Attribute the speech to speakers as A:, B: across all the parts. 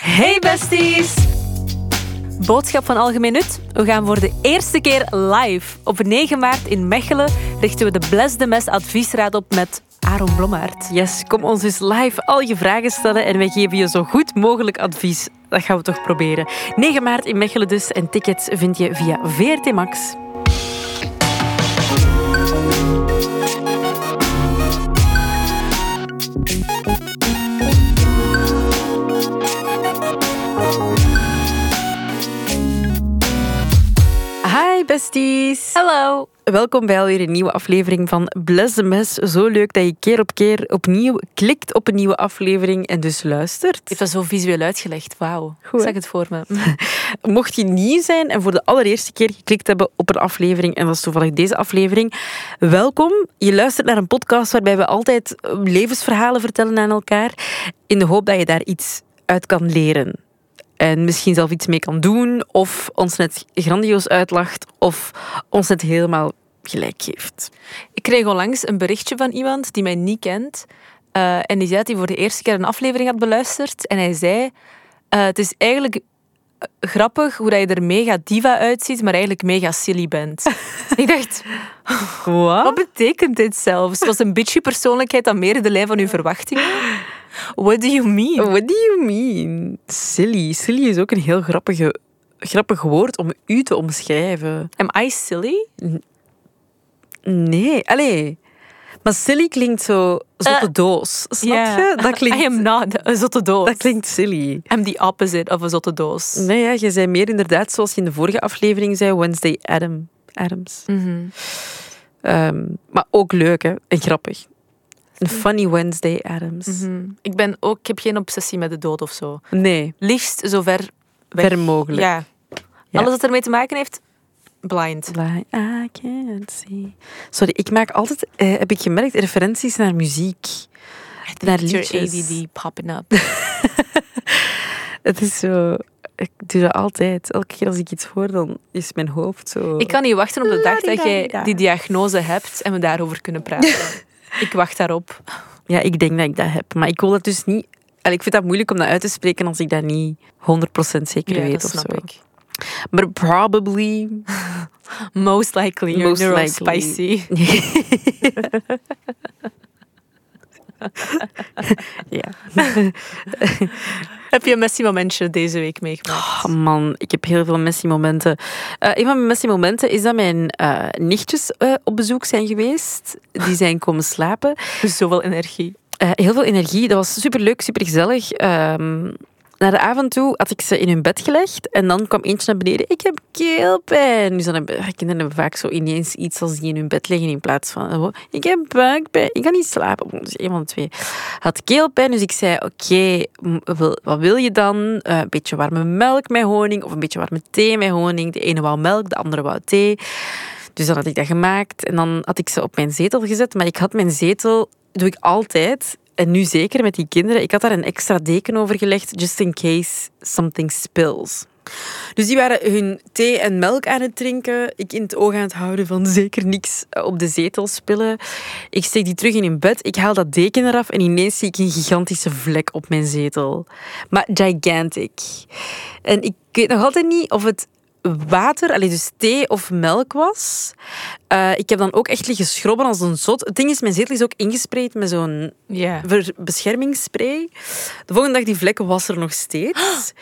A: Hey besties! Boodschap van Algemeen Nut. We gaan voor de eerste keer live. Op 9 maart in Mechelen richten we de Bles de Mes adviesraad op met Aaron Blommaert. Yes, kom ons eens live al je vragen stellen en wij geven je zo goed mogelijk advies. Dat gaan we toch proberen. 9 maart in Mechelen dus en tickets vind je via VRT Max. Hi besties!
B: Hallo.
A: Welkom bij alweer een nieuwe aflevering van Bless the Mess. Zo leuk dat je keer op keer opnieuw klikt op een nieuwe aflevering en dus luistert.
B: Ik heb dat zo visueel uitgelegd. Wauw.
A: hè?
B: Goed. Zag het voor me.
A: Mocht je nieuw zijn en voor de allereerste keer geklikt hebben op een aflevering, en dat is toevallig deze aflevering, welkom. Je luistert naar een podcast waarbij we altijd eh, levensverhalen vertellen aan elkaar, in de hoop dat je daar iets uit kan leren. En misschien zelf iets mee kan doen, of ons net grandioos uitlacht, of ons net helemaal gelijk geeft.
B: Ik kreeg onlangs een berichtje van iemand die mij niet kent. eh, en die zei dat hij voor de eerste keer een aflevering had beluisterd. En hij zei, eh, het is eigenlijk eh, grappig hoe dat je er mega diva uitziet, maar eigenlijk mega silly bent. ik dacht, wat betekent dit zelfs? Het was een bitchy persoonlijkheid aan meer in de lijn van uw verwachtingen. What do you mean?
A: What do you mean? Silly. Silly is ook een heel grappige, grappig woord om u te omschrijven.
B: Am I silly?
A: Nee, allee. Maar silly klinkt zo zotte
B: Eh,
A: doos. Snap je? Dat
B: I
A: klinkt,
B: am not een zotte doos.
A: dat klinkt silly.
B: I'm the opposite of een zotte doos.
A: Nee, ja, je zei meer inderdaad, zoals je in de vorige aflevering zei, Wednesday Adam. Adams.
B: Mhm.
A: Ehm, maar ook leuk, hè? En grappig. Een funny Wednesday Adams.
B: Mhm. Ik, ben ook, ik heb geen obsessie met de dood of zo.
A: Nee,
B: Liefst zo ver weg.
A: ver mogelijk.
B: Ja.
A: Ja.
B: Alles wat ermee te maken heeft, blind.
A: Blind, I can't see. Sorry, ik maak altijd, eh, heb ik gemerkt, referenties naar muziek. Naar
B: Your
A: liedjes.
B: ADD popping up.
A: Het is zo... Ik doe dat altijd. Elke keer als ik iets hoor, dan is mijn hoofd zo...
B: Ik kan niet wachten op de dag dat jij
A: Ladidadida.
B: die diagnose hebt en we daarover kunnen praten. Ik wacht daarop.
A: Ja, ik denk dat ik dat heb. Maar ik wil dat dus niet... Allee, ik vind dat moeilijk om dat uit te spreken als ik dat niet 100% zeker
B: Ja,
A: weet
B: dat
A: of
B: snap
A: zo.
B: ik.
A: Maar probably...
B: Most likely, you're
A: Most likely.
B: neurospicy.
A: ja.
B: Heb je een messy momentje deze week meegemaakt?
A: Oh man, ik heb heel veel messy momenten. Eh, een van mijn messy momenten is dat mijn eh, nichtjes eh, op bezoek zijn geweest. Die zijn komen slapen.
B: Zoveel energie.
A: Eh, heel veel energie. Dat was superleuk, supergezellig. Ehm naar de avond toe had ik ze in hun bed gelegd. En dan kwam eentje naar beneden. Ik heb keelpijn. Dus dan hebben, ja, kinderen hebben vaak zo ineens iets als die in hun bed liggen. In plaats van, oh, ik heb buikpijn. Ik kan niet slapen. Dus een van de twee had keelpijn. Dus ik zei, oké, m- wil- wat wil je dan? Eh, een beetje warme melk met honing. Of een beetje warme thee met honing. De ene wou melk, de andere wou thee. Dus dan had ik dat gemaakt en dan had ik ze op mijn zetel gezet. Maar ik had mijn zetel, doe ik altijd, en nu zeker met die kinderen, ik had daar een extra deken over gelegd, just in case something spills. Dus die waren hun thee en melk aan het drinken. Ik in het oog aan het houden van zeker niks eh, op de zetel spillen. Ik steek die terug in hun bed. Ik haal dat deken eraf en ineens zie ik een gigantische vlek op mijn zetel. Maar gigantic. En ik weet nog altijd niet of het water, allee, dus thee of melk was. Eh, ik heb dan ook echt liggen schrobben als een zot. Het ding is, mijn zetel is ook ingespreid met zo'n
B: Ja.
A: ver- beschermingsspray. De volgende dag, die vlek was er nog steeds.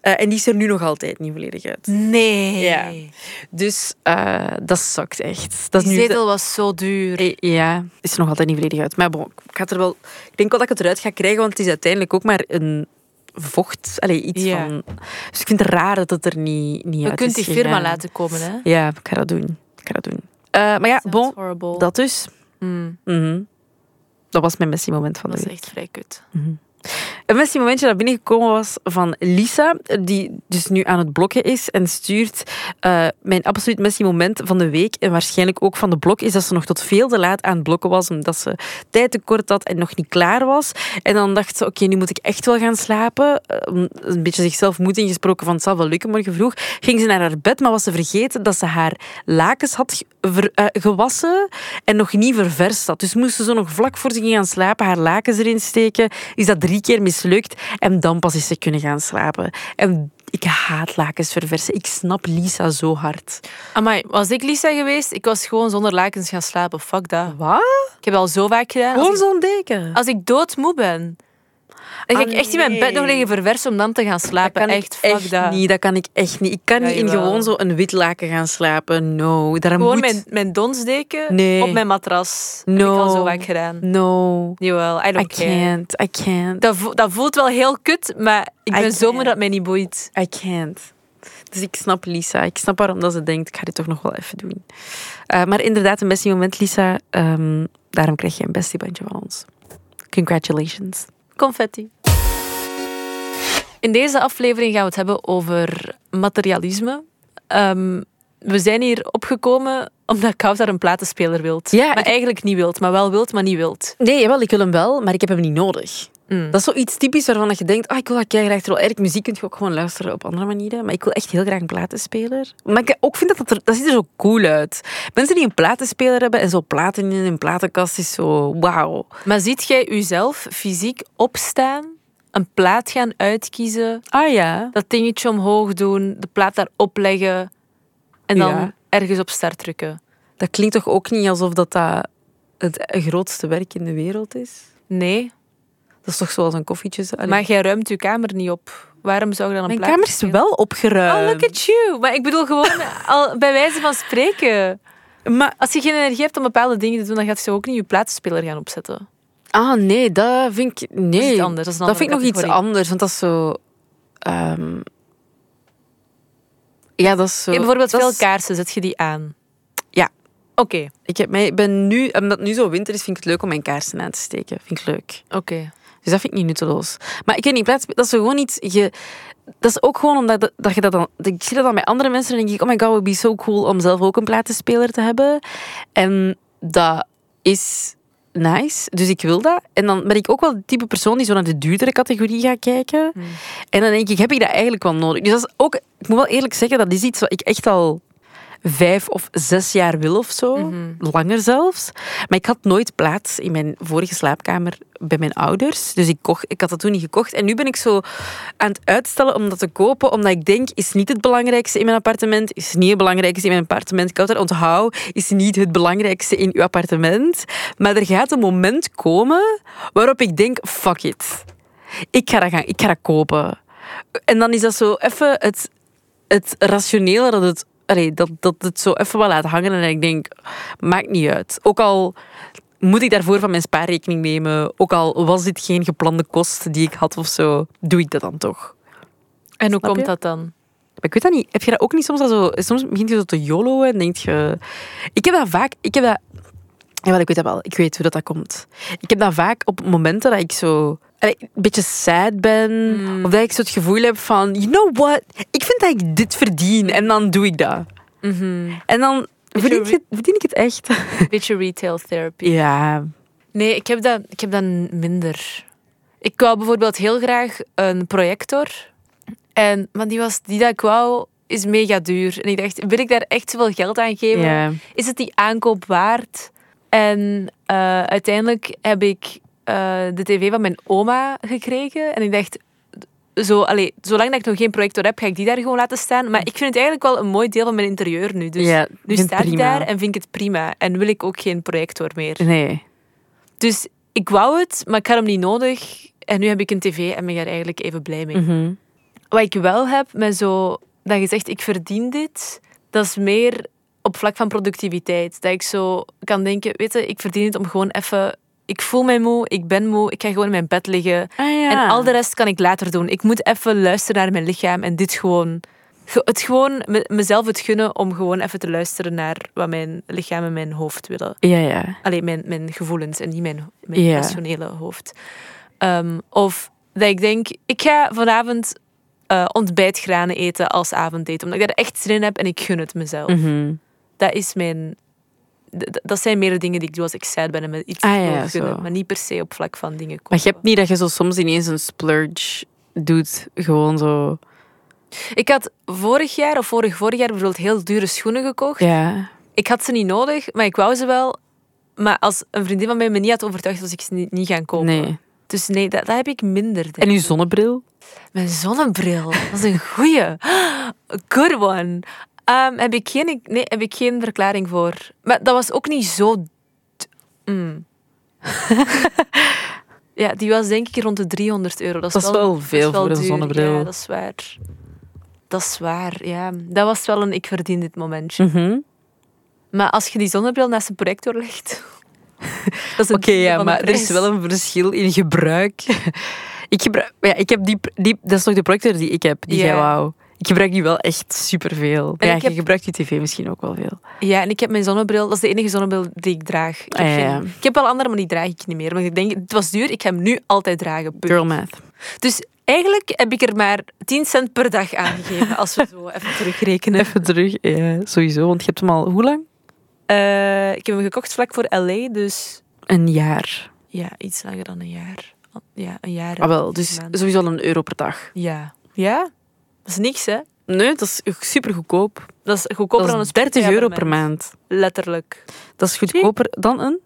A: Eh, en die is er nu nog altijd niet volledig uit.
B: Nee.
A: Ja. Dus eh, dat zakt echt. Dat is
B: Die
A: nu de-
B: zetel was zo duur.
A: Eh, Ja, is er nog altijd niet volledig uit. Maar bon, ik, had er wel, ik denk wel dat ik het eruit ga krijgen, want het is uiteindelijk ook maar een vocht. Allee, iets
B: Ja.
A: van... Dus ik vind het raar dat het er niet, niet
B: Je
A: uit is
B: kunt die firma
A: gegaan.
B: laten komen, hè?
A: Ja, ik ga dat doen. Ik ga dat doen. Eh, maar ja,
B: Sounds
A: bon,
B: horrible.
A: dat dus.
B: Mm,
A: Mhm. Dat was mijn messy moment van
B: dat
A: de
B: is
A: week.
B: echt vrij kut.
A: Een messy momentje dat binnengekomen was van Lisa, die dus nu aan het blokken is en stuurt eh, mijn absoluut messy moment van de week en waarschijnlijk ook van de blok, is dat ze nog tot veel te laat aan het blokken was, omdat ze tijd tekort had en nog niet klaar was. En dan dacht ze, oké, nu moet ik echt wel gaan slapen. Eh, om een beetje zichzelf moed ingesproken van het zal wel lukken morgen vroeg. Ging ze naar haar bed, maar was ze vergeten dat ze haar lakens had ge- ver- eh, gewassen en nog niet ververst had. Dus moest ze zo nog vlak voor ze ging gaan slapen haar lakens erin steken. Is dat drie keer mis mislukt. En dan pas is ze kunnen gaan slapen. En ik haat lakens verversen. Ik snap Lisa zo hard.
B: Amai, was ik Lisa geweest, ik was gewoon zonder lakens gaan slapen. Fuck dat.
A: Wat?
B: Ik heb dat al zo vaak gedaan. Als
A: Gewoon
B: ik,
A: zo'n deken.
B: als ik doodmoe ben, dan ga
A: Ah,
B: ik echt in mijn bed nog
A: nee.
B: liggen verversen om dan te gaan
A: Dat
B: slapen.
A: kan
B: echt,
A: ik
B: fuck
A: echt
B: dat.
A: niet. Dat kan ik echt niet. Ik kan
B: Ja,
A: niet in
B: jawel.
A: gewoon zo'n wit laken gaan slapen. No. Daar
B: Gewoon
A: moet...
B: mijn, mijn donsdeken
A: Nee.
B: op mijn matras. Dat
A: No.
B: heb ik al zo vaak gedaan.
A: No.
B: Jawel, I
A: I
B: don't care.
A: can't. I can't.
B: Dat, vo- dat voelt wel heel kut, maar ik
A: I
B: ben zo moe
A: can't.
B: dat het mij niet boeit.
A: I can't. Dus ik snap Lisa. Ik snap waarom dat ze denkt, ik ga dit toch nog wel even doen. Eh, maar inderdaad, een bestie moment, Lisa. Ehm, daarom krijg je een bestiebandje van ons. Congratulations.
B: Confetti. In deze aflevering gaan we het hebben over materialisme. Ehm, we zijn hier opgekomen omdat Koud daar een platenspeler wilt.
A: Ja,
B: maar
A: ik-
B: eigenlijk niet wilt, maar wel wilt, maar niet wilt.
A: Nee, jawel, ik wil hem wel, maar ik heb hem niet nodig.
B: Mm.
A: Dat is zoiets typisch waarvan dat je denkt, ah, ik wil dat graag terwijl eigenlijk muziek kun je ook gewoon luisteren op andere manieren. Maar ik wil echt heel graag een platenspeler. Maar ik ook vind dat dat, er, dat ziet er zo cool uit. Mensen die een platenspeler hebben en zo platen in een platenkast is zo, wauw.
B: Maar ziet jij uzelf fysiek opstaan, een plaat gaan uitkiezen,
A: Ah ja.
B: dat dingetje omhoog doen, de plaat daarop leggen en dan
A: Ja.
B: ergens op start drukken?
A: Dat klinkt toch ook niet alsof dat, dat het grootste werk in de wereld is?
B: Nee,
A: Dat is toch zoals een koffietje? zo- Allee.
B: maar jij ruimt je kamer niet op. Waarom zou je dan een
A: Mijn
B: plaat
A: kamer is wel
B: Oh,
A: opgeruimd.
B: look at you. Maar ik bedoel gewoon al bij wijze van spreken.
A: maar,
B: Als je geen energie hebt om bepaalde dingen te doen, dan gaat ze ook niet je plaatsspeler gaan opzetten.
A: ah nee, dat vind ik... Nee,
B: Dat is iets anders, dat is een
A: dat vind ik nog
B: andere
A: iets
B: categorie.
A: anders. Want dat is zo... ehm, ja, dat is zo...
B: Je hebt bijvoorbeeld
A: dat
B: veel
A: is-
B: kaarsen, zet je die aan?
A: Ja.
B: Oké,
A: Ik heb mij, ben nu, omdat het nu zo winter is, vind ik het leuk om mijn kaarsen aan te steken. Vind ik leuk.
B: oké.
A: Dus dat vind ik niet nutteloos. Maar ik weet niet, plaats, dat is zo gewoon iets... Je, dat is ook gewoon omdat dat, dat je dat dan... Ik zie dat dan bij andere mensen en denk ik... Oh my god, it would be so cool om zelf ook een platenspeler te hebben. En dat is nice. Dus ik wil dat. En dan ben ik ook wel het type persoon die zo naar de duurdere categorie gaat kijken. En dan denk ik, heb ik dat eigenlijk wel nodig? Dus dat is ook... Ik moet wel eerlijk zeggen, dat is iets wat ik echt al vijf of zes jaar wil of zo. Langer zelfs. Maar ik had nooit plaats in mijn vorige slaapkamer bij mijn ouders. Dus ik, kocht, ik had dat toen niet gekocht. En nu ben ik zo aan het uitstellen om dat te kopen. Omdat ik denk, is niet het belangrijkste in mijn appartement. Is niet het belangrijkste in mijn appartement. Ik had er onthoud. Is niet het belangrijkste in uw appartement. Maar er gaat een moment komen waarop ik denk, fuck it. Ik ga dat, gaan, ik ga dat kopen. En dan is dat zo even het, het rationele dat het, allee, dat, dat het zo even wel laat hangen. En ik denk, maakt niet uit. Ook al moet ik daarvoor van mijn spaarrekening nemen, ook al was dit geen geplande kost die ik had of zo, doe ik dat dan toch.
B: En hoe
A: Snap
B: komt
A: je?
B: dat dan?
A: Maar ik weet dat niet. Heb je dat ook niet soms al zo... Soms begint je zo te joloen en denk je... Ik heb dat vaak... Ik heb dat... Ja, wel, ik weet dat wel. Ik weet hoe dat, dat komt. Ik heb dat vaak op momenten dat ik zo... eh, Een beetje sad ben. Of dat ik zo het gevoel heb van... You know what? Ik vind dat ik dit verdien. En dan doe ik dat. En dan verdien ik,
B: re-
A: het, verdien ik het echt.
B: Beetje retail therapy.
A: Ja.
B: Nee, ik heb dat, ik heb dat minder. Ik wou bijvoorbeeld heel graag een projector. En, maar die, was, die dat ik wou, is mega duur. En ik dacht, wil ik daar echt zoveel geld aan geven?
A: ja.
B: is het die aankoop waard? En eh, uiteindelijk heb ik eh, de tv van mijn oma gekregen. En ik dacht, zo, allee, zolang dat ik nog geen projector heb, ga ik die daar gewoon laten staan. Maar ik vind het eigenlijk wel een mooi deel van mijn interieur nu. Dus
A: Ja,
B: nu
A: vind
B: staat die
A: prima.
B: daar en vind ik het prima. En wil ik ook geen projector meer.
A: Nee.
B: Dus ik wou het, maar ik had hem niet nodig. En nu heb ik een tv en ben ik daar eigenlijk even blij mee.
A: Mhm.
B: Wat ik wel heb met zo dat je zegt ik verdien dit, dat is meer op vlak van productiviteit. Dat ik zo kan denken, weet je, ik verdien het om gewoon even. Ik voel mij moe, ik ben moe, ik ga gewoon in mijn bed liggen.
A: Ah,
B: En al de rest kan ik later doen. Ik moet even luisteren naar mijn lichaam en dit gewoon. ge- Het gewoon me- mezelf het gunnen om gewoon even te luisteren naar wat mijn lichaam en mijn hoofd willen.
A: Ja, ja.
B: Alleen mijn, mijn gevoelens en niet mijn, mijn
A: Ja.
B: rationele hoofd. Ehm, of dat ik denk, ik ga vanavond eh, ontbijtgranen eten als avondeten. Omdat ik daar echt zin in heb en ik gun het mezelf.
A: Mhm.
B: Dat is mijn... d- d- Dat zijn meer de dingen die ik doe als ik sad ben en me iets
A: Ah,
B: wil
A: ja,
B: gunnen.
A: zo.
B: Maar niet per se op vlak van dingen kopen.
A: Maar je hebt niet dat je zo soms ineens een splurge doet. Gewoon zo...
B: Ik had vorig jaar of vorig vorig jaar bijvoorbeeld heel dure schoenen gekocht.
A: Ja.
B: Ik had ze niet nodig, maar ik wou ze wel. Maar als een vriendin van mij me niet had overtuigd, was ik ze niet, niet gaan kopen.
A: Nee.
B: Dus nee, dat, dat heb ik minder. denk
A: En uw
B: ik.
A: zonnebril?
B: Mijn zonnebril, dat is een goeie. Good one. Ehm, heb, ik geen, nee, heb ik geen verklaring voor. Maar dat was ook niet zo... d- mm. ja, die was denk ik rond de 300 euro. Dat is,
A: Dat is wel
B: dat is
A: veel voor een
B: duur.
A: zonnebril.
B: Ja, dat is waar. Dat is waar, ja. Dat was wel een ik verdien dit momentje.
A: Mhm.
B: Maar als je die zonnebril naast een projector legt... dat is een
A: Oké,
B: tiende
A: ja,
B: van de
A: maar er is
B: prijs.
A: wel een verschil in gebruik. ik gebruik, ja, ik heb die, die, dat is nog de projector die ik heb, die jij
B: Ja.
A: wou. Ik gebruik die wel echt superveel.
B: En
A: Ja,
B: ik
A: je
B: heb-
A: gebruikt die tv misschien ook wel veel.
B: Ja, en ik heb mijn zonnebril. Dat is de enige zonnebril die ik draag. Ik
A: Ah,
B: heb,
A: ja, ja.
B: geen- ik heb wel andere, maar die draag ik niet meer. Want ik denk, het was duur, ik ga hem nu altijd dragen. punt.
A: Girl math.
B: Dus eigenlijk heb ik er maar 10 cent per dag aangegeven, als we zo even terugrekenen.
A: Even terug, ja, sowieso, want je hebt hem al hoe lang?
B: Eh, ik heb hem gekocht vlak voor LA, dus
A: Een jaar.
B: ja, iets langer dan een jaar. Ja, een jaar. en
A: Ah, wel,
B: tien
A: dus
B: maanden.
A: sowieso al een euro per dag.
B: Ja. Ja? Dat is niks, hè?
A: Nee, dat is super goedkoop.
B: Dat is goedkoper
A: Dat
B: dan
A: is
B: een
A: 30 euro per
B: Spotify-abonnement.
A: maand.
B: Letterlijk.
A: Dat is goedkoper dan een...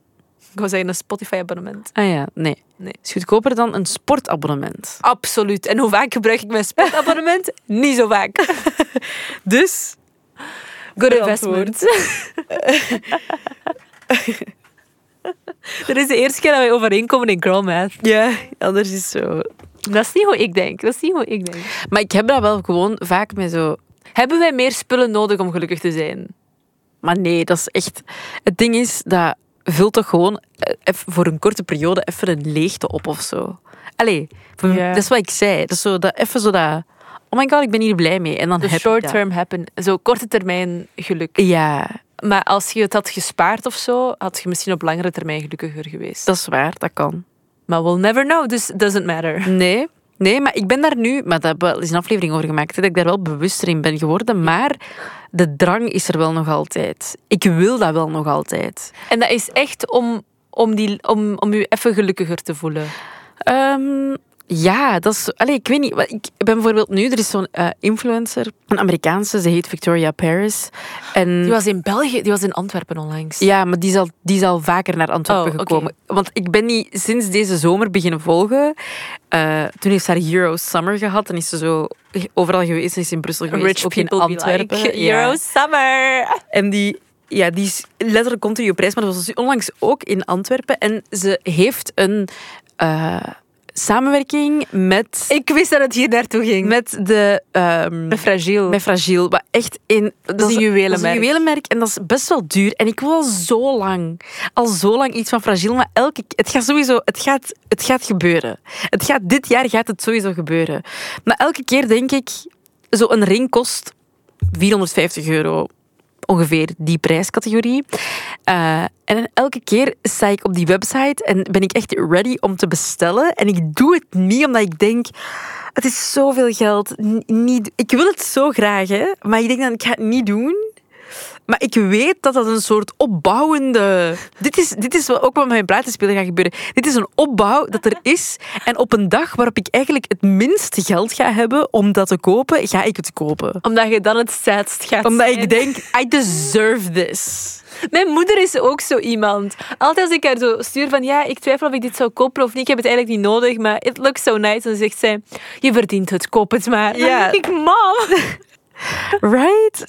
B: Ik wou zeggen een Spotify-abonnement.
A: Ah ja, nee.
B: Nee.
A: Het is goedkoper dan een sportabonnement.
B: Absoluut. En hoe vaak gebruik ik mijn sportabonnement? Niet zo vaak.
A: Dus...
B: Good
A: Verantwoord.
B: investment. Dat is de eerste keer dat wij overeenkomen in girl math.
A: Ja, anders is zo.
B: Dat is niet hoe ik denk. Dat is niet hoe ik denk.
A: Maar ik heb dat wel gewoon vaak met zo...
B: Hebben wij meer spullen nodig om gelukkig te zijn?
A: Maar nee, dat is echt... Het ding is, dat vult toch gewoon eh, even voor een korte periode even een leegte op of zo. Allee, voor-
B: Ja.
A: dat is wat ik zei. Dat is zo, dat, even zo dat... Oh my god, ik ben hier blij mee. En dan
B: De
A: heb
B: short
A: ik dat.
B: term happen. Zo korte termijn geluk.
A: Ja,
B: Maar als je het had gespaard of zo, had je misschien op langere termijn gelukkiger geweest.
A: dat is waar. Dat kan.
B: Maar we'll never know, dus it doesn't matter.
A: Nee, nee, maar ik ben daar nu, maar daar hebben we al eens een aflevering over gemaakt, hè, dat ik daar wel bewuster in ben geworden. Maar de drang is er wel nog altijd. Ik wil dat wel nog altijd.
B: En dat is echt om, om, die, om, om je even gelukkiger te voelen.
A: Mm. Ehm, ja, dat is. Allee, ik weet niet. wat- Ik ben bijvoorbeeld nu, er is zo'n eh, influencer, een Amerikaanse, ze heet Victoria Paris. En,
B: Die was in België, die was in Antwerpen onlangs.
A: ja, maar die is, al, die is al vaker naar Antwerpen
B: Oh, oké.
A: gekomen. Want ik ben die sinds deze zomer beginnen volgen. Eh, toen heeft ze haar Euro Summer gehad en is ze zo overal geweest. Ze is in Brussel geweest,
B: Rich
A: ook
B: people
A: in Antwerpen.
B: be like,
A: Ja.
B: Euro summer.
A: En die, ja, die is letterlijk continu op reis, maar dat was dus onlangs ook in Antwerpen. En ze heeft een eh, samenwerking met,
B: Ik wist dat het hier naartoe ging.
A: met de... ehm,
B: fragiel.
A: bij Fragiel, wat echt in... Dat
B: een
A: dat is
B: juwelenmerk.
A: een juwelenmerk en dat is best wel duur. En ik wil al zo lang, al zo lang iets van Fragiel, maar elke... Het gaat sowieso... Het gaat, het gaat gebeuren. Het gaat, dit jaar gaat het sowieso gebeuren. Maar elke keer denk ik, zo'n ring kost 450 euro. Ongeveer die prijscategorie. Eh, en elke keer sta ik op die website en ben ik echt ready om te bestellen. En ik doe het niet omdat ik denk, het is zoveel geld. N- niet, ik wil het zo graag, hè, maar ik denk dan, ik ga het niet doen. Maar ik weet dat dat een soort opbouwende... Dit is, dit is wel ook wat met mijn platenspeler gaat gebeuren. Dit is een opbouw dat er is. En op een dag waarop ik eigenlijk het minste geld ga hebben om dat te kopen, ga ik het kopen.
B: Omdat je dan het saadst gaat
A: Omdat
B: zijn.
A: ik denk, I deserve this.
B: Mijn moeder is ook zo iemand. Altijd als ik haar zo stuur van... Ja, ik twijfel of ik dit zou kopen of niet. Ik heb het eigenlijk niet nodig, maar it looks so nice. En dan zegt zij... Je verdient het, koop het maar.
A: Ja. Eh,
B: Dan denk ik, mam.
A: Right?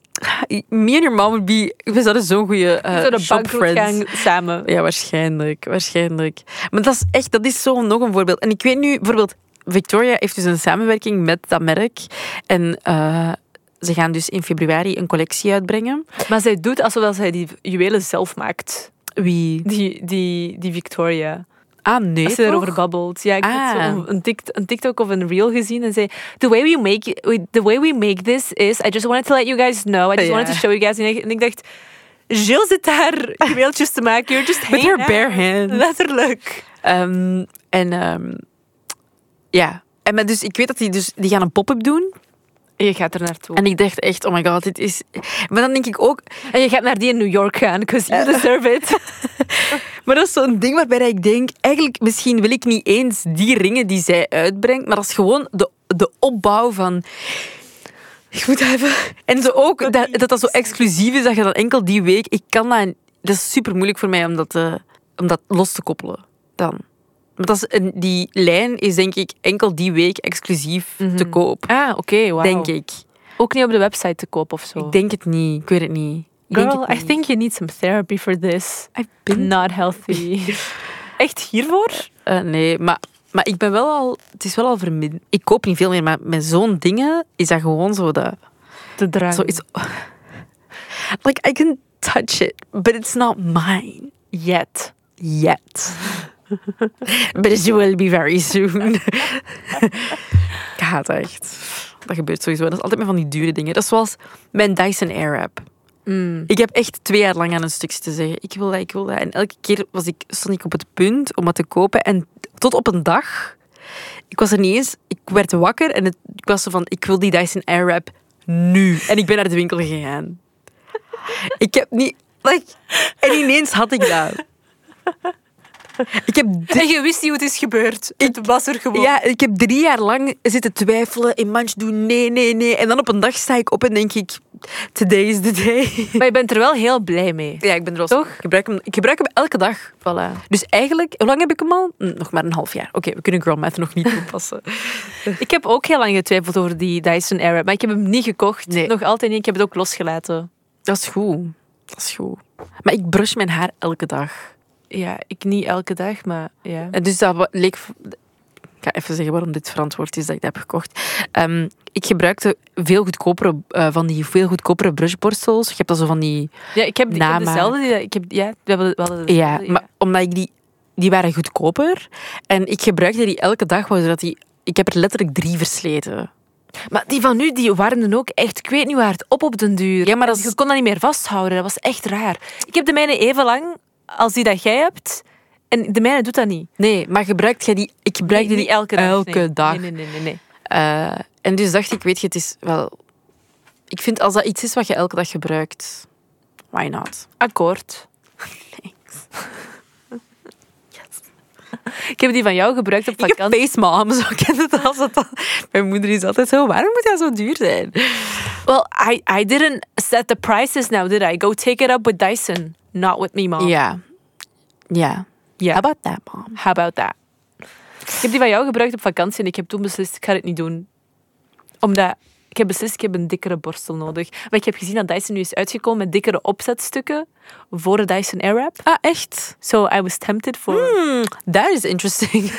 A: Me and your mom would be... We zouden zo'n goede
B: zo
A: eh
B: de
A: shop
B: bankroet
A: friends.
B: gaan samen.
A: Ja, waarschijnlijk. Waarschijnlijk. Maar dat is echt, dat is zo nog een voorbeeld. En ik weet nu, bijvoorbeeld, Victoria heeft dus een samenwerking met dat merk. En eh, ze gaan dus in februari een collectie uitbrengen.
B: Maar zij doet alsof zij die juwelen zelf maakt.
A: Wie?
B: Die, die, die Victoria.
A: Ah, nee.
B: Als ze erover
A: toch?
B: babbelt. Ja, ik
A: Ah.
B: had zo een, tikt, een TikTok of een reel gezien en zei: the way, we make, we- the way we make this is, I just wanted to let you guys know. I just wanted to
A: Ja.
B: show you guys. En ik, en ik dacht, Jill zit daar mailtjes te maken. You're just
A: With her
B: hanging
A: bare
B: out."
A: hands.
B: Letterlijk.
A: Ehm, en ehm, ja. En maar dus, ik weet dat die, dus, die gaan een pop-up doen.
B: En je gaat er naartoe. En,
A: En ik dacht echt, oh my god, dit is... Maar dan denk ik ook,
B: je gaat naar die in New York gaan, because you deserve it.
A: Maar dat is zo'n ding waarbij dat ik denk, eigenlijk misschien wil ik niet eens die ringen die zij uitbrengt, maar dat is gewoon de, de opbouw van... Ik moet even... En zo ook dat, dat dat zo exclusief is, dat je dan enkel die week... eh, Ik kan dat... Dat is super moeilijk voor mij om dat, te- om dat los te koppelen dan. Maar dat is een- die lijn is denk ik enkel die week exclusief
B: Mhm.
A: te koop.
B: Ah, oké, wauw.
A: Denk ik.
B: Ook niet op de website te koop of zo.
A: Ik denk het niet. Ik weet het niet. Ik denk
B: Girl,
A: het
B: I
A: niet.
B: think you need some therapy for this.
A: I've been-
B: Not healthy. Echt hiervoor?
A: Eh, nee, maar, maar ik ben wel al... Het is wel al verminderd. Ik koop niet veel meer, maar met zo'n dingen is dat gewoon zo dat...
B: Te drang.
A: Zoiets... Like, I can touch it, but it's not mine.
B: Yet.
A: yet. But it will be very soon. Ik haat dat echt. Dat gebeurt sowieso. Dat is altijd met van die dure dingen. Dat is zoals mijn Dyson Airwrap.
B: Mm.
A: Ik heb echt twee jaar lang aan een stukje te zeggen. Ik wil dat, ik wil dat. En elke keer was ik, stond ik op het punt om dat te kopen. En tot op een dag... Ik was er niet eens... Ik werd wakker en het, ik was zo van... Ik wil die Dyson Airwrap nu. En ik ben naar de winkel gegaan. Ik heb niet... Like, en ineens had ik dat. Ik heb,
B: En je wist niet hoe het is gebeurd. het was er gewoon.
A: ja, ik heb drie jaar lang zitten twijfelen in manch doen, nee, nee, nee. En dan op een dag sta ik op en denk ik, today is the day.
B: Maar je bent er wel heel blij mee.
A: Ja, ik ben er wel Toch? Ik gebruik hem, ik gebruik hem elke dag.
B: Voilà.
A: Dus eigenlijk, hoe lang heb ik hem al? Hm, Nog maar een half jaar. Oké, we kunnen girl math nog niet toepassen.
B: Ik heb ook heel lang getwijfeld over die Dyson Airwrap, maar ik heb hem niet gekocht.
A: Nee.
B: Nog altijd niet. Ik heb het ook losgelaten.
A: dat is goed. Dat is goed. Maar ik brush mijn haar elke dag.
B: Ja, ik niet elke dag, maar ja.
A: En dus dat wa- leek... Ik ga even zeggen waarom dit verantwoord is dat ik dat heb gekocht. Ehm, ik gebruikte veel goedkopere, eh, van die veel goedkopere brushborstels. Je hebt dan zo van die...
B: Ja, ik heb, ik heb
A: Namaak.
B: dezelfde. die- Ik heb, ja, we hadden, we hadden
A: Ja,
B: dezelfde,
A: maar omdat ik die, die waren goedkoper en ik gebruikte die elke dag, zodat die, ik heb er letterlijk drie versleten.
B: Maar die van nu, die warmden ook echt, ik weet niet waar het op op den duur.
A: Ja, maar dat is-
B: Je kon dat niet meer vasthouden, dat was echt raar. Ik heb de mijne even lang als die dat jij hebt. En de mijne doet dat niet.
A: Nee, maar gebruikt jij die? Ik gebruikte
B: Nee,
A: die
B: niet elke dag.
A: elke
B: nee.
A: dag.
B: Nee, nee, nee. nee, nee.
A: Eh, en dus dacht ik, weet je, het is wel. Ik vind als dat iets is wat je elke dag gebruikt, why not?
B: Akkoord. Ik heb die van jou gebruikt op
A: Ik heb
B: vakantie.
A: face mom, zo kent het als het dan. Mijn moeder is altijd zo, waarom moet dat zo duur zijn?
B: Well, I, I didn't set the prices now, did I? Go take it up with Dyson, not with me, mom.
A: Ja. Ja.
B: Ja.
A: How about that, mom?
B: How about that? Ik heb die van jou gebruikt op vakantie en ik heb toen beslist, ik ga het niet doen. Omdat, ik heb beslist, ik heb een dikkere borstel nodig. Maar ik heb gezien dat Dyson nu is uitgekomen met dikkere opzetstukken voor de Dyson Airwrap.
A: Ah, echt?
B: So I was tempted for...
A: Hmm, that is interesting.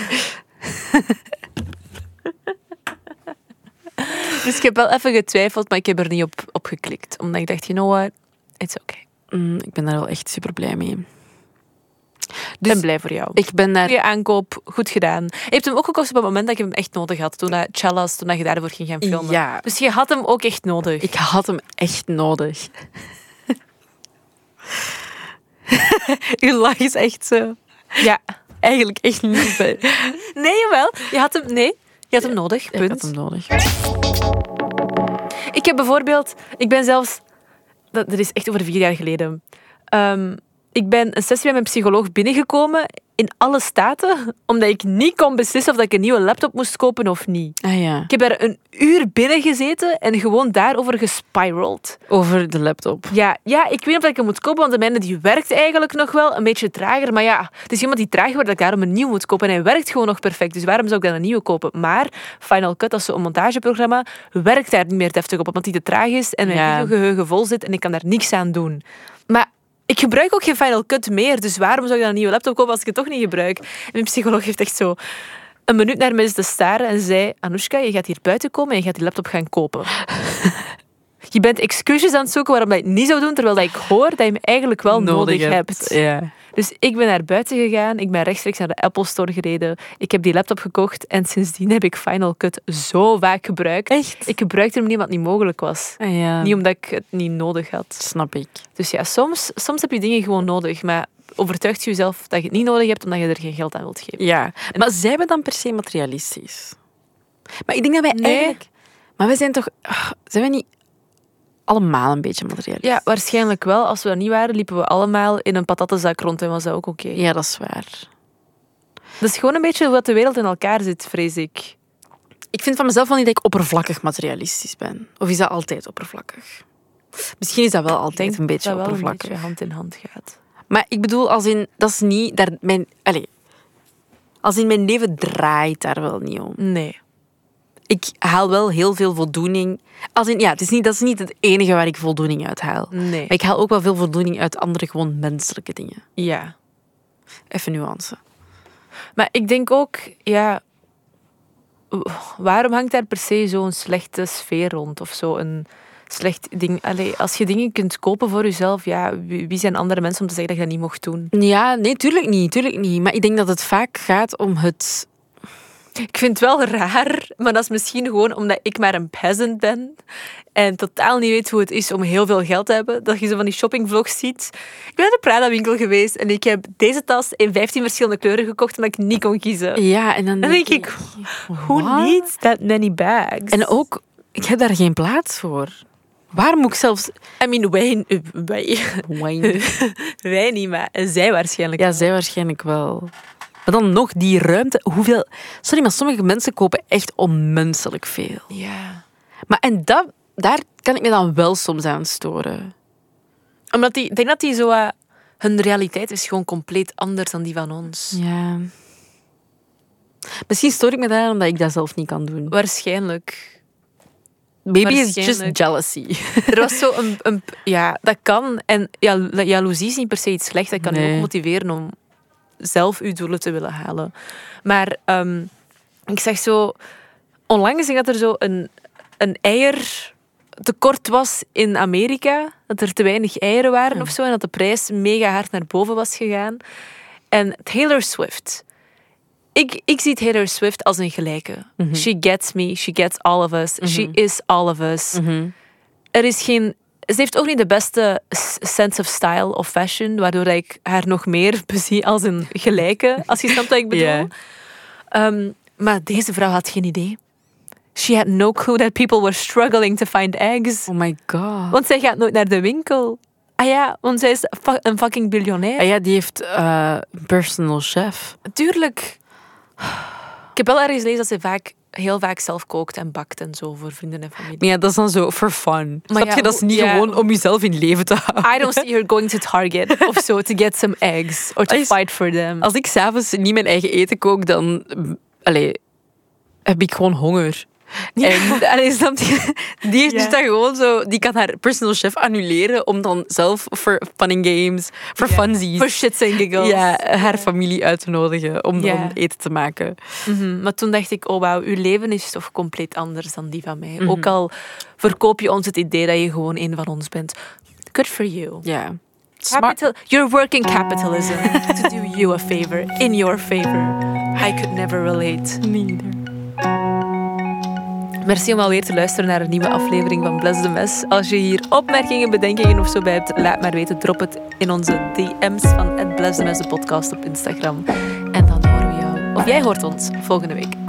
B: Dus ik heb wel even getwijfeld, maar ik heb er niet op, op geklikt. Omdat ik dacht, you know what, it's okay.
A: Mm, ik ben daar wel echt super blij mee.
B: Ik
A: Dus
B: ben blij voor jou.
A: ik ben daar.
B: je aankoop, goed gedaan. Je hebt hem ook gekocht op het moment dat ik hem echt nodig had. Toen dat Challas, toen dat je daarvoor ging gaan filmen.
A: Ja.
B: Dus je had hem ook echt nodig.
A: Ik had hem echt nodig. Uw lach is echt zo.
B: Ja.
A: Eigenlijk echt niet. bij-
B: Nee, wel. Je had hem, nee, je had hem nodig.
A: Ja, Ik
B: Punt.
A: had hem nodig.
B: Ik heb bijvoorbeeld, ik ben zelfs, dat, dat is echt over vier jaar geleden. Ehm, ik ben een sessie bij mijn psycholoog binnengekomen in alle staten, omdat ik niet kon beslissen of dat ik een nieuwe laptop moest kopen of niet.
A: Ah ja.
B: Ik heb daar een uur binnen gezeten en gewoon daarover gespiraled.
A: Over de laptop.
B: Ja, ja, ik weet niet of ik hem moet kopen, want de mijne die werkt eigenlijk nog wel een beetje trager. Maar ja, het is iemand die trager wordt, dat ik daarom een nieuw moet kopen. En hij werkt gewoon nog perfect, dus waarom zou ik dan een nieuwe kopen? Maar Final Cut, als zo'n montageprogramma, werkt daar niet meer deftig op, omdat die te traag is en mijn
A: Ja.
B: videogeheugen vol zit en ik kan daar niks aan doen. Maar ik gebruik ook geen Final Cut meer, dus waarom zou ik dan een nieuwe laptop kopen als ik het toch niet gebruik? En mijn psycholoog heeft echt zo een minuut naar me te staren en zei... Anoushka, je gaat hier buiten komen en je gaat die laptop gaan kopen. je bent excuses aan het zoeken waarom dat je het niet zou doen, terwijl dat ik hoor dat je hem eigenlijk wel nodig, hebt.
A: Ja.
B: Dus ik ben naar buiten gegaan, ik ben rechtstreeks naar de Apple Store gereden, ik heb die laptop gekocht en sindsdien heb ik Final Cut zo vaak gebruikt.
A: Echt?
B: Ik gebruikte hem niet omdat het niet mogelijk was.
A: Ah ja.
B: Niet omdat ik het niet nodig had.
A: Snap ik.
B: Dus ja, soms, soms heb je dingen gewoon nodig, maar overtuigt jezelf dat je het niet nodig hebt omdat je er geen geld aan wilt geven.
A: Ja. Maar zijn we dan per se materialistisch? Maar ik denk dat wij
B: Nee.
A: eigenlijk... Maar wij zijn toch... ah, Zijn we niet allemaal een beetje materialistisch?
B: Ja, waarschijnlijk wel. Als we dat niet waren, liepen we allemaal in een patattenzak rond en was dat ook oké.
A: Ja, dat is waar.
B: Dat is gewoon een beetje hoe dat de wereld in elkaar zit, vrees ik.
A: Ik vind van mezelf wel niet dat ik oppervlakkig materialistisch ben. Of is dat altijd oppervlakkig? Misschien is dat wel
B: Ik
A: altijd
B: denk
A: een beetje
B: dat dat wel
A: oppervlakkig.
B: een beetje hand in hand gaat.
A: Maar ik bedoel, als in, dat is niet... Daar, mijn, allez, Als in mijn leven draait daar wel niet om.
B: Nee.
A: Ik haal wel heel veel voldoening. Als in, ja, het is niet, dat is niet het enige waar ik voldoening uit haal.
B: Nee.
A: Maar ik haal ook wel veel voldoening uit andere gewoon menselijke dingen.
B: Ja.
A: Even nuance.
B: Maar ik denk ook, ja... w- Waarom hangt daar per se zo'n slechte sfeer rond? Of zo een slecht ding? Allee, als je dingen kunt kopen voor jezelf, ja, wie wie zijn andere mensen om te zeggen dat je dat niet mocht doen?
A: Ja, nee, tuurlijk niet, tuurlijk niet. Maar ik denk dat het vaak gaat om het...
B: Ik vind het wel raar, maar dat is misschien gewoon omdat ik maar een peasant ben en totaal niet weet hoe het is om heel veel geld te hebben. Dat je zo van die shoppingvlogs ziet. Ik ben naar de Prada-winkel geweest en ik heb deze tas in 15 verschillende kleuren gekocht omdat ik niet kon kiezen.
A: Ja, en dan
B: Dan
A: denk
B: denk
A: ik...
B: Who
A: what?
B: needs that many bags?
A: En ook, ik heb daar geen plaats voor. Waar moet ik zelfs...
B: I mean, wij, eh, wij, wij niet, maar zij waarschijnlijk.
A: Ja, zij waarschijnlijk wel. Maar dan nog die ruimte. Hoeveel... Sorry, maar sommige mensen kopen echt onmenselijk veel.
B: ja.
A: Maar en dat, daar kan ik me dan wel soms aan storen.
B: Omdat die, ik denk dat die zo... eh, hun realiteit is gewoon compleet anders dan die van ons.
A: Ja. Misschien stoor ik me daar omdat ik dat zelf niet kan doen.
B: Waarschijnlijk.
A: Maybe it's just
B: waarschijnlijk.
A: jealousy.
B: Er was zo een, een- Ja, dat kan. En ja, jaloezie is niet per se iets slechts. Dat kan je
A: Nee.
B: ook motiveren om zelf uw doelen te willen halen. Maar ehm, ik zeg zo... Onlangs ging dat er zo een, een eier tekort was in Amerika. Dat er te weinig eieren waren of zo. En dat de prijs mega hard naar boven was gegaan. En Taylor Swift. Ik, ik zie Taylor Swift als een gelijke. She gets me. She gets all of us. She is all of
A: Mhm.
B: us er is geen. Ze heeft ook niet de beste s- sense of style of fashion, waardoor ik haar nog meer bezie als een gelijke, als je snapt wat ik bedoel.
A: Ja.
B: Ehm, maar deze vrouw had geen idee. She had no clue that people were struggling to find eggs.
A: Oh my god.
B: Want zij gaat nooit naar de winkel. Ah ja, want zij is fa- een fucking biljonair.
A: Ah ja, die heeft eh, een personal chef.
B: Tuurlijk. Ik heb wel ergens gelezen dat ze vaak, heel vaak zelf kookt en bakt en zo voor vrienden en familie.
A: Maar ja, dat is dan zo for fun.
B: Maar
A: Snap
B: ja,
A: je, dat is
B: hoe-
A: niet
B: ja. Ah.
A: gewoon om jezelf in leven te houden.
B: I don't see her going to Target of zo to get some eggs or to
A: Is-
B: fight for them.
A: Als ik s'avonds niet mijn eigen eten kook, dan mm, allee, heb ik gewoon honger. En allee, snap je? Die heeft
B: Ja.
A: dus dat gewoon zo. Die kan haar personal chef annuleren om dan zelf voor fun and games, voor
B: Ja.
A: funsies,
B: For shits and giggles.
A: ja, haar familie uit te nodigen om
B: Ja.
A: dan eten te maken.
B: Mhm. Maar toen dacht ik, oh wauw, uw leven is toch compleet anders dan die van mij. Ook al verkoop je ons het idee dat je gewoon een van ons bent. Good for you.
A: Ja. Smart.
B: Capital, you're working capitalism to do you a favor, in your favor. I could never relate. Merci om alweer te luisteren naar een nieuwe aflevering van Bless the Mess. Als je hier opmerkingen, bedenkingen of zo bij hebt, laat maar weten. Drop het in onze DM's van het Bless the Mess, de podcast op Instagram. En dan horen we jou, of jij hoort ons, volgende week.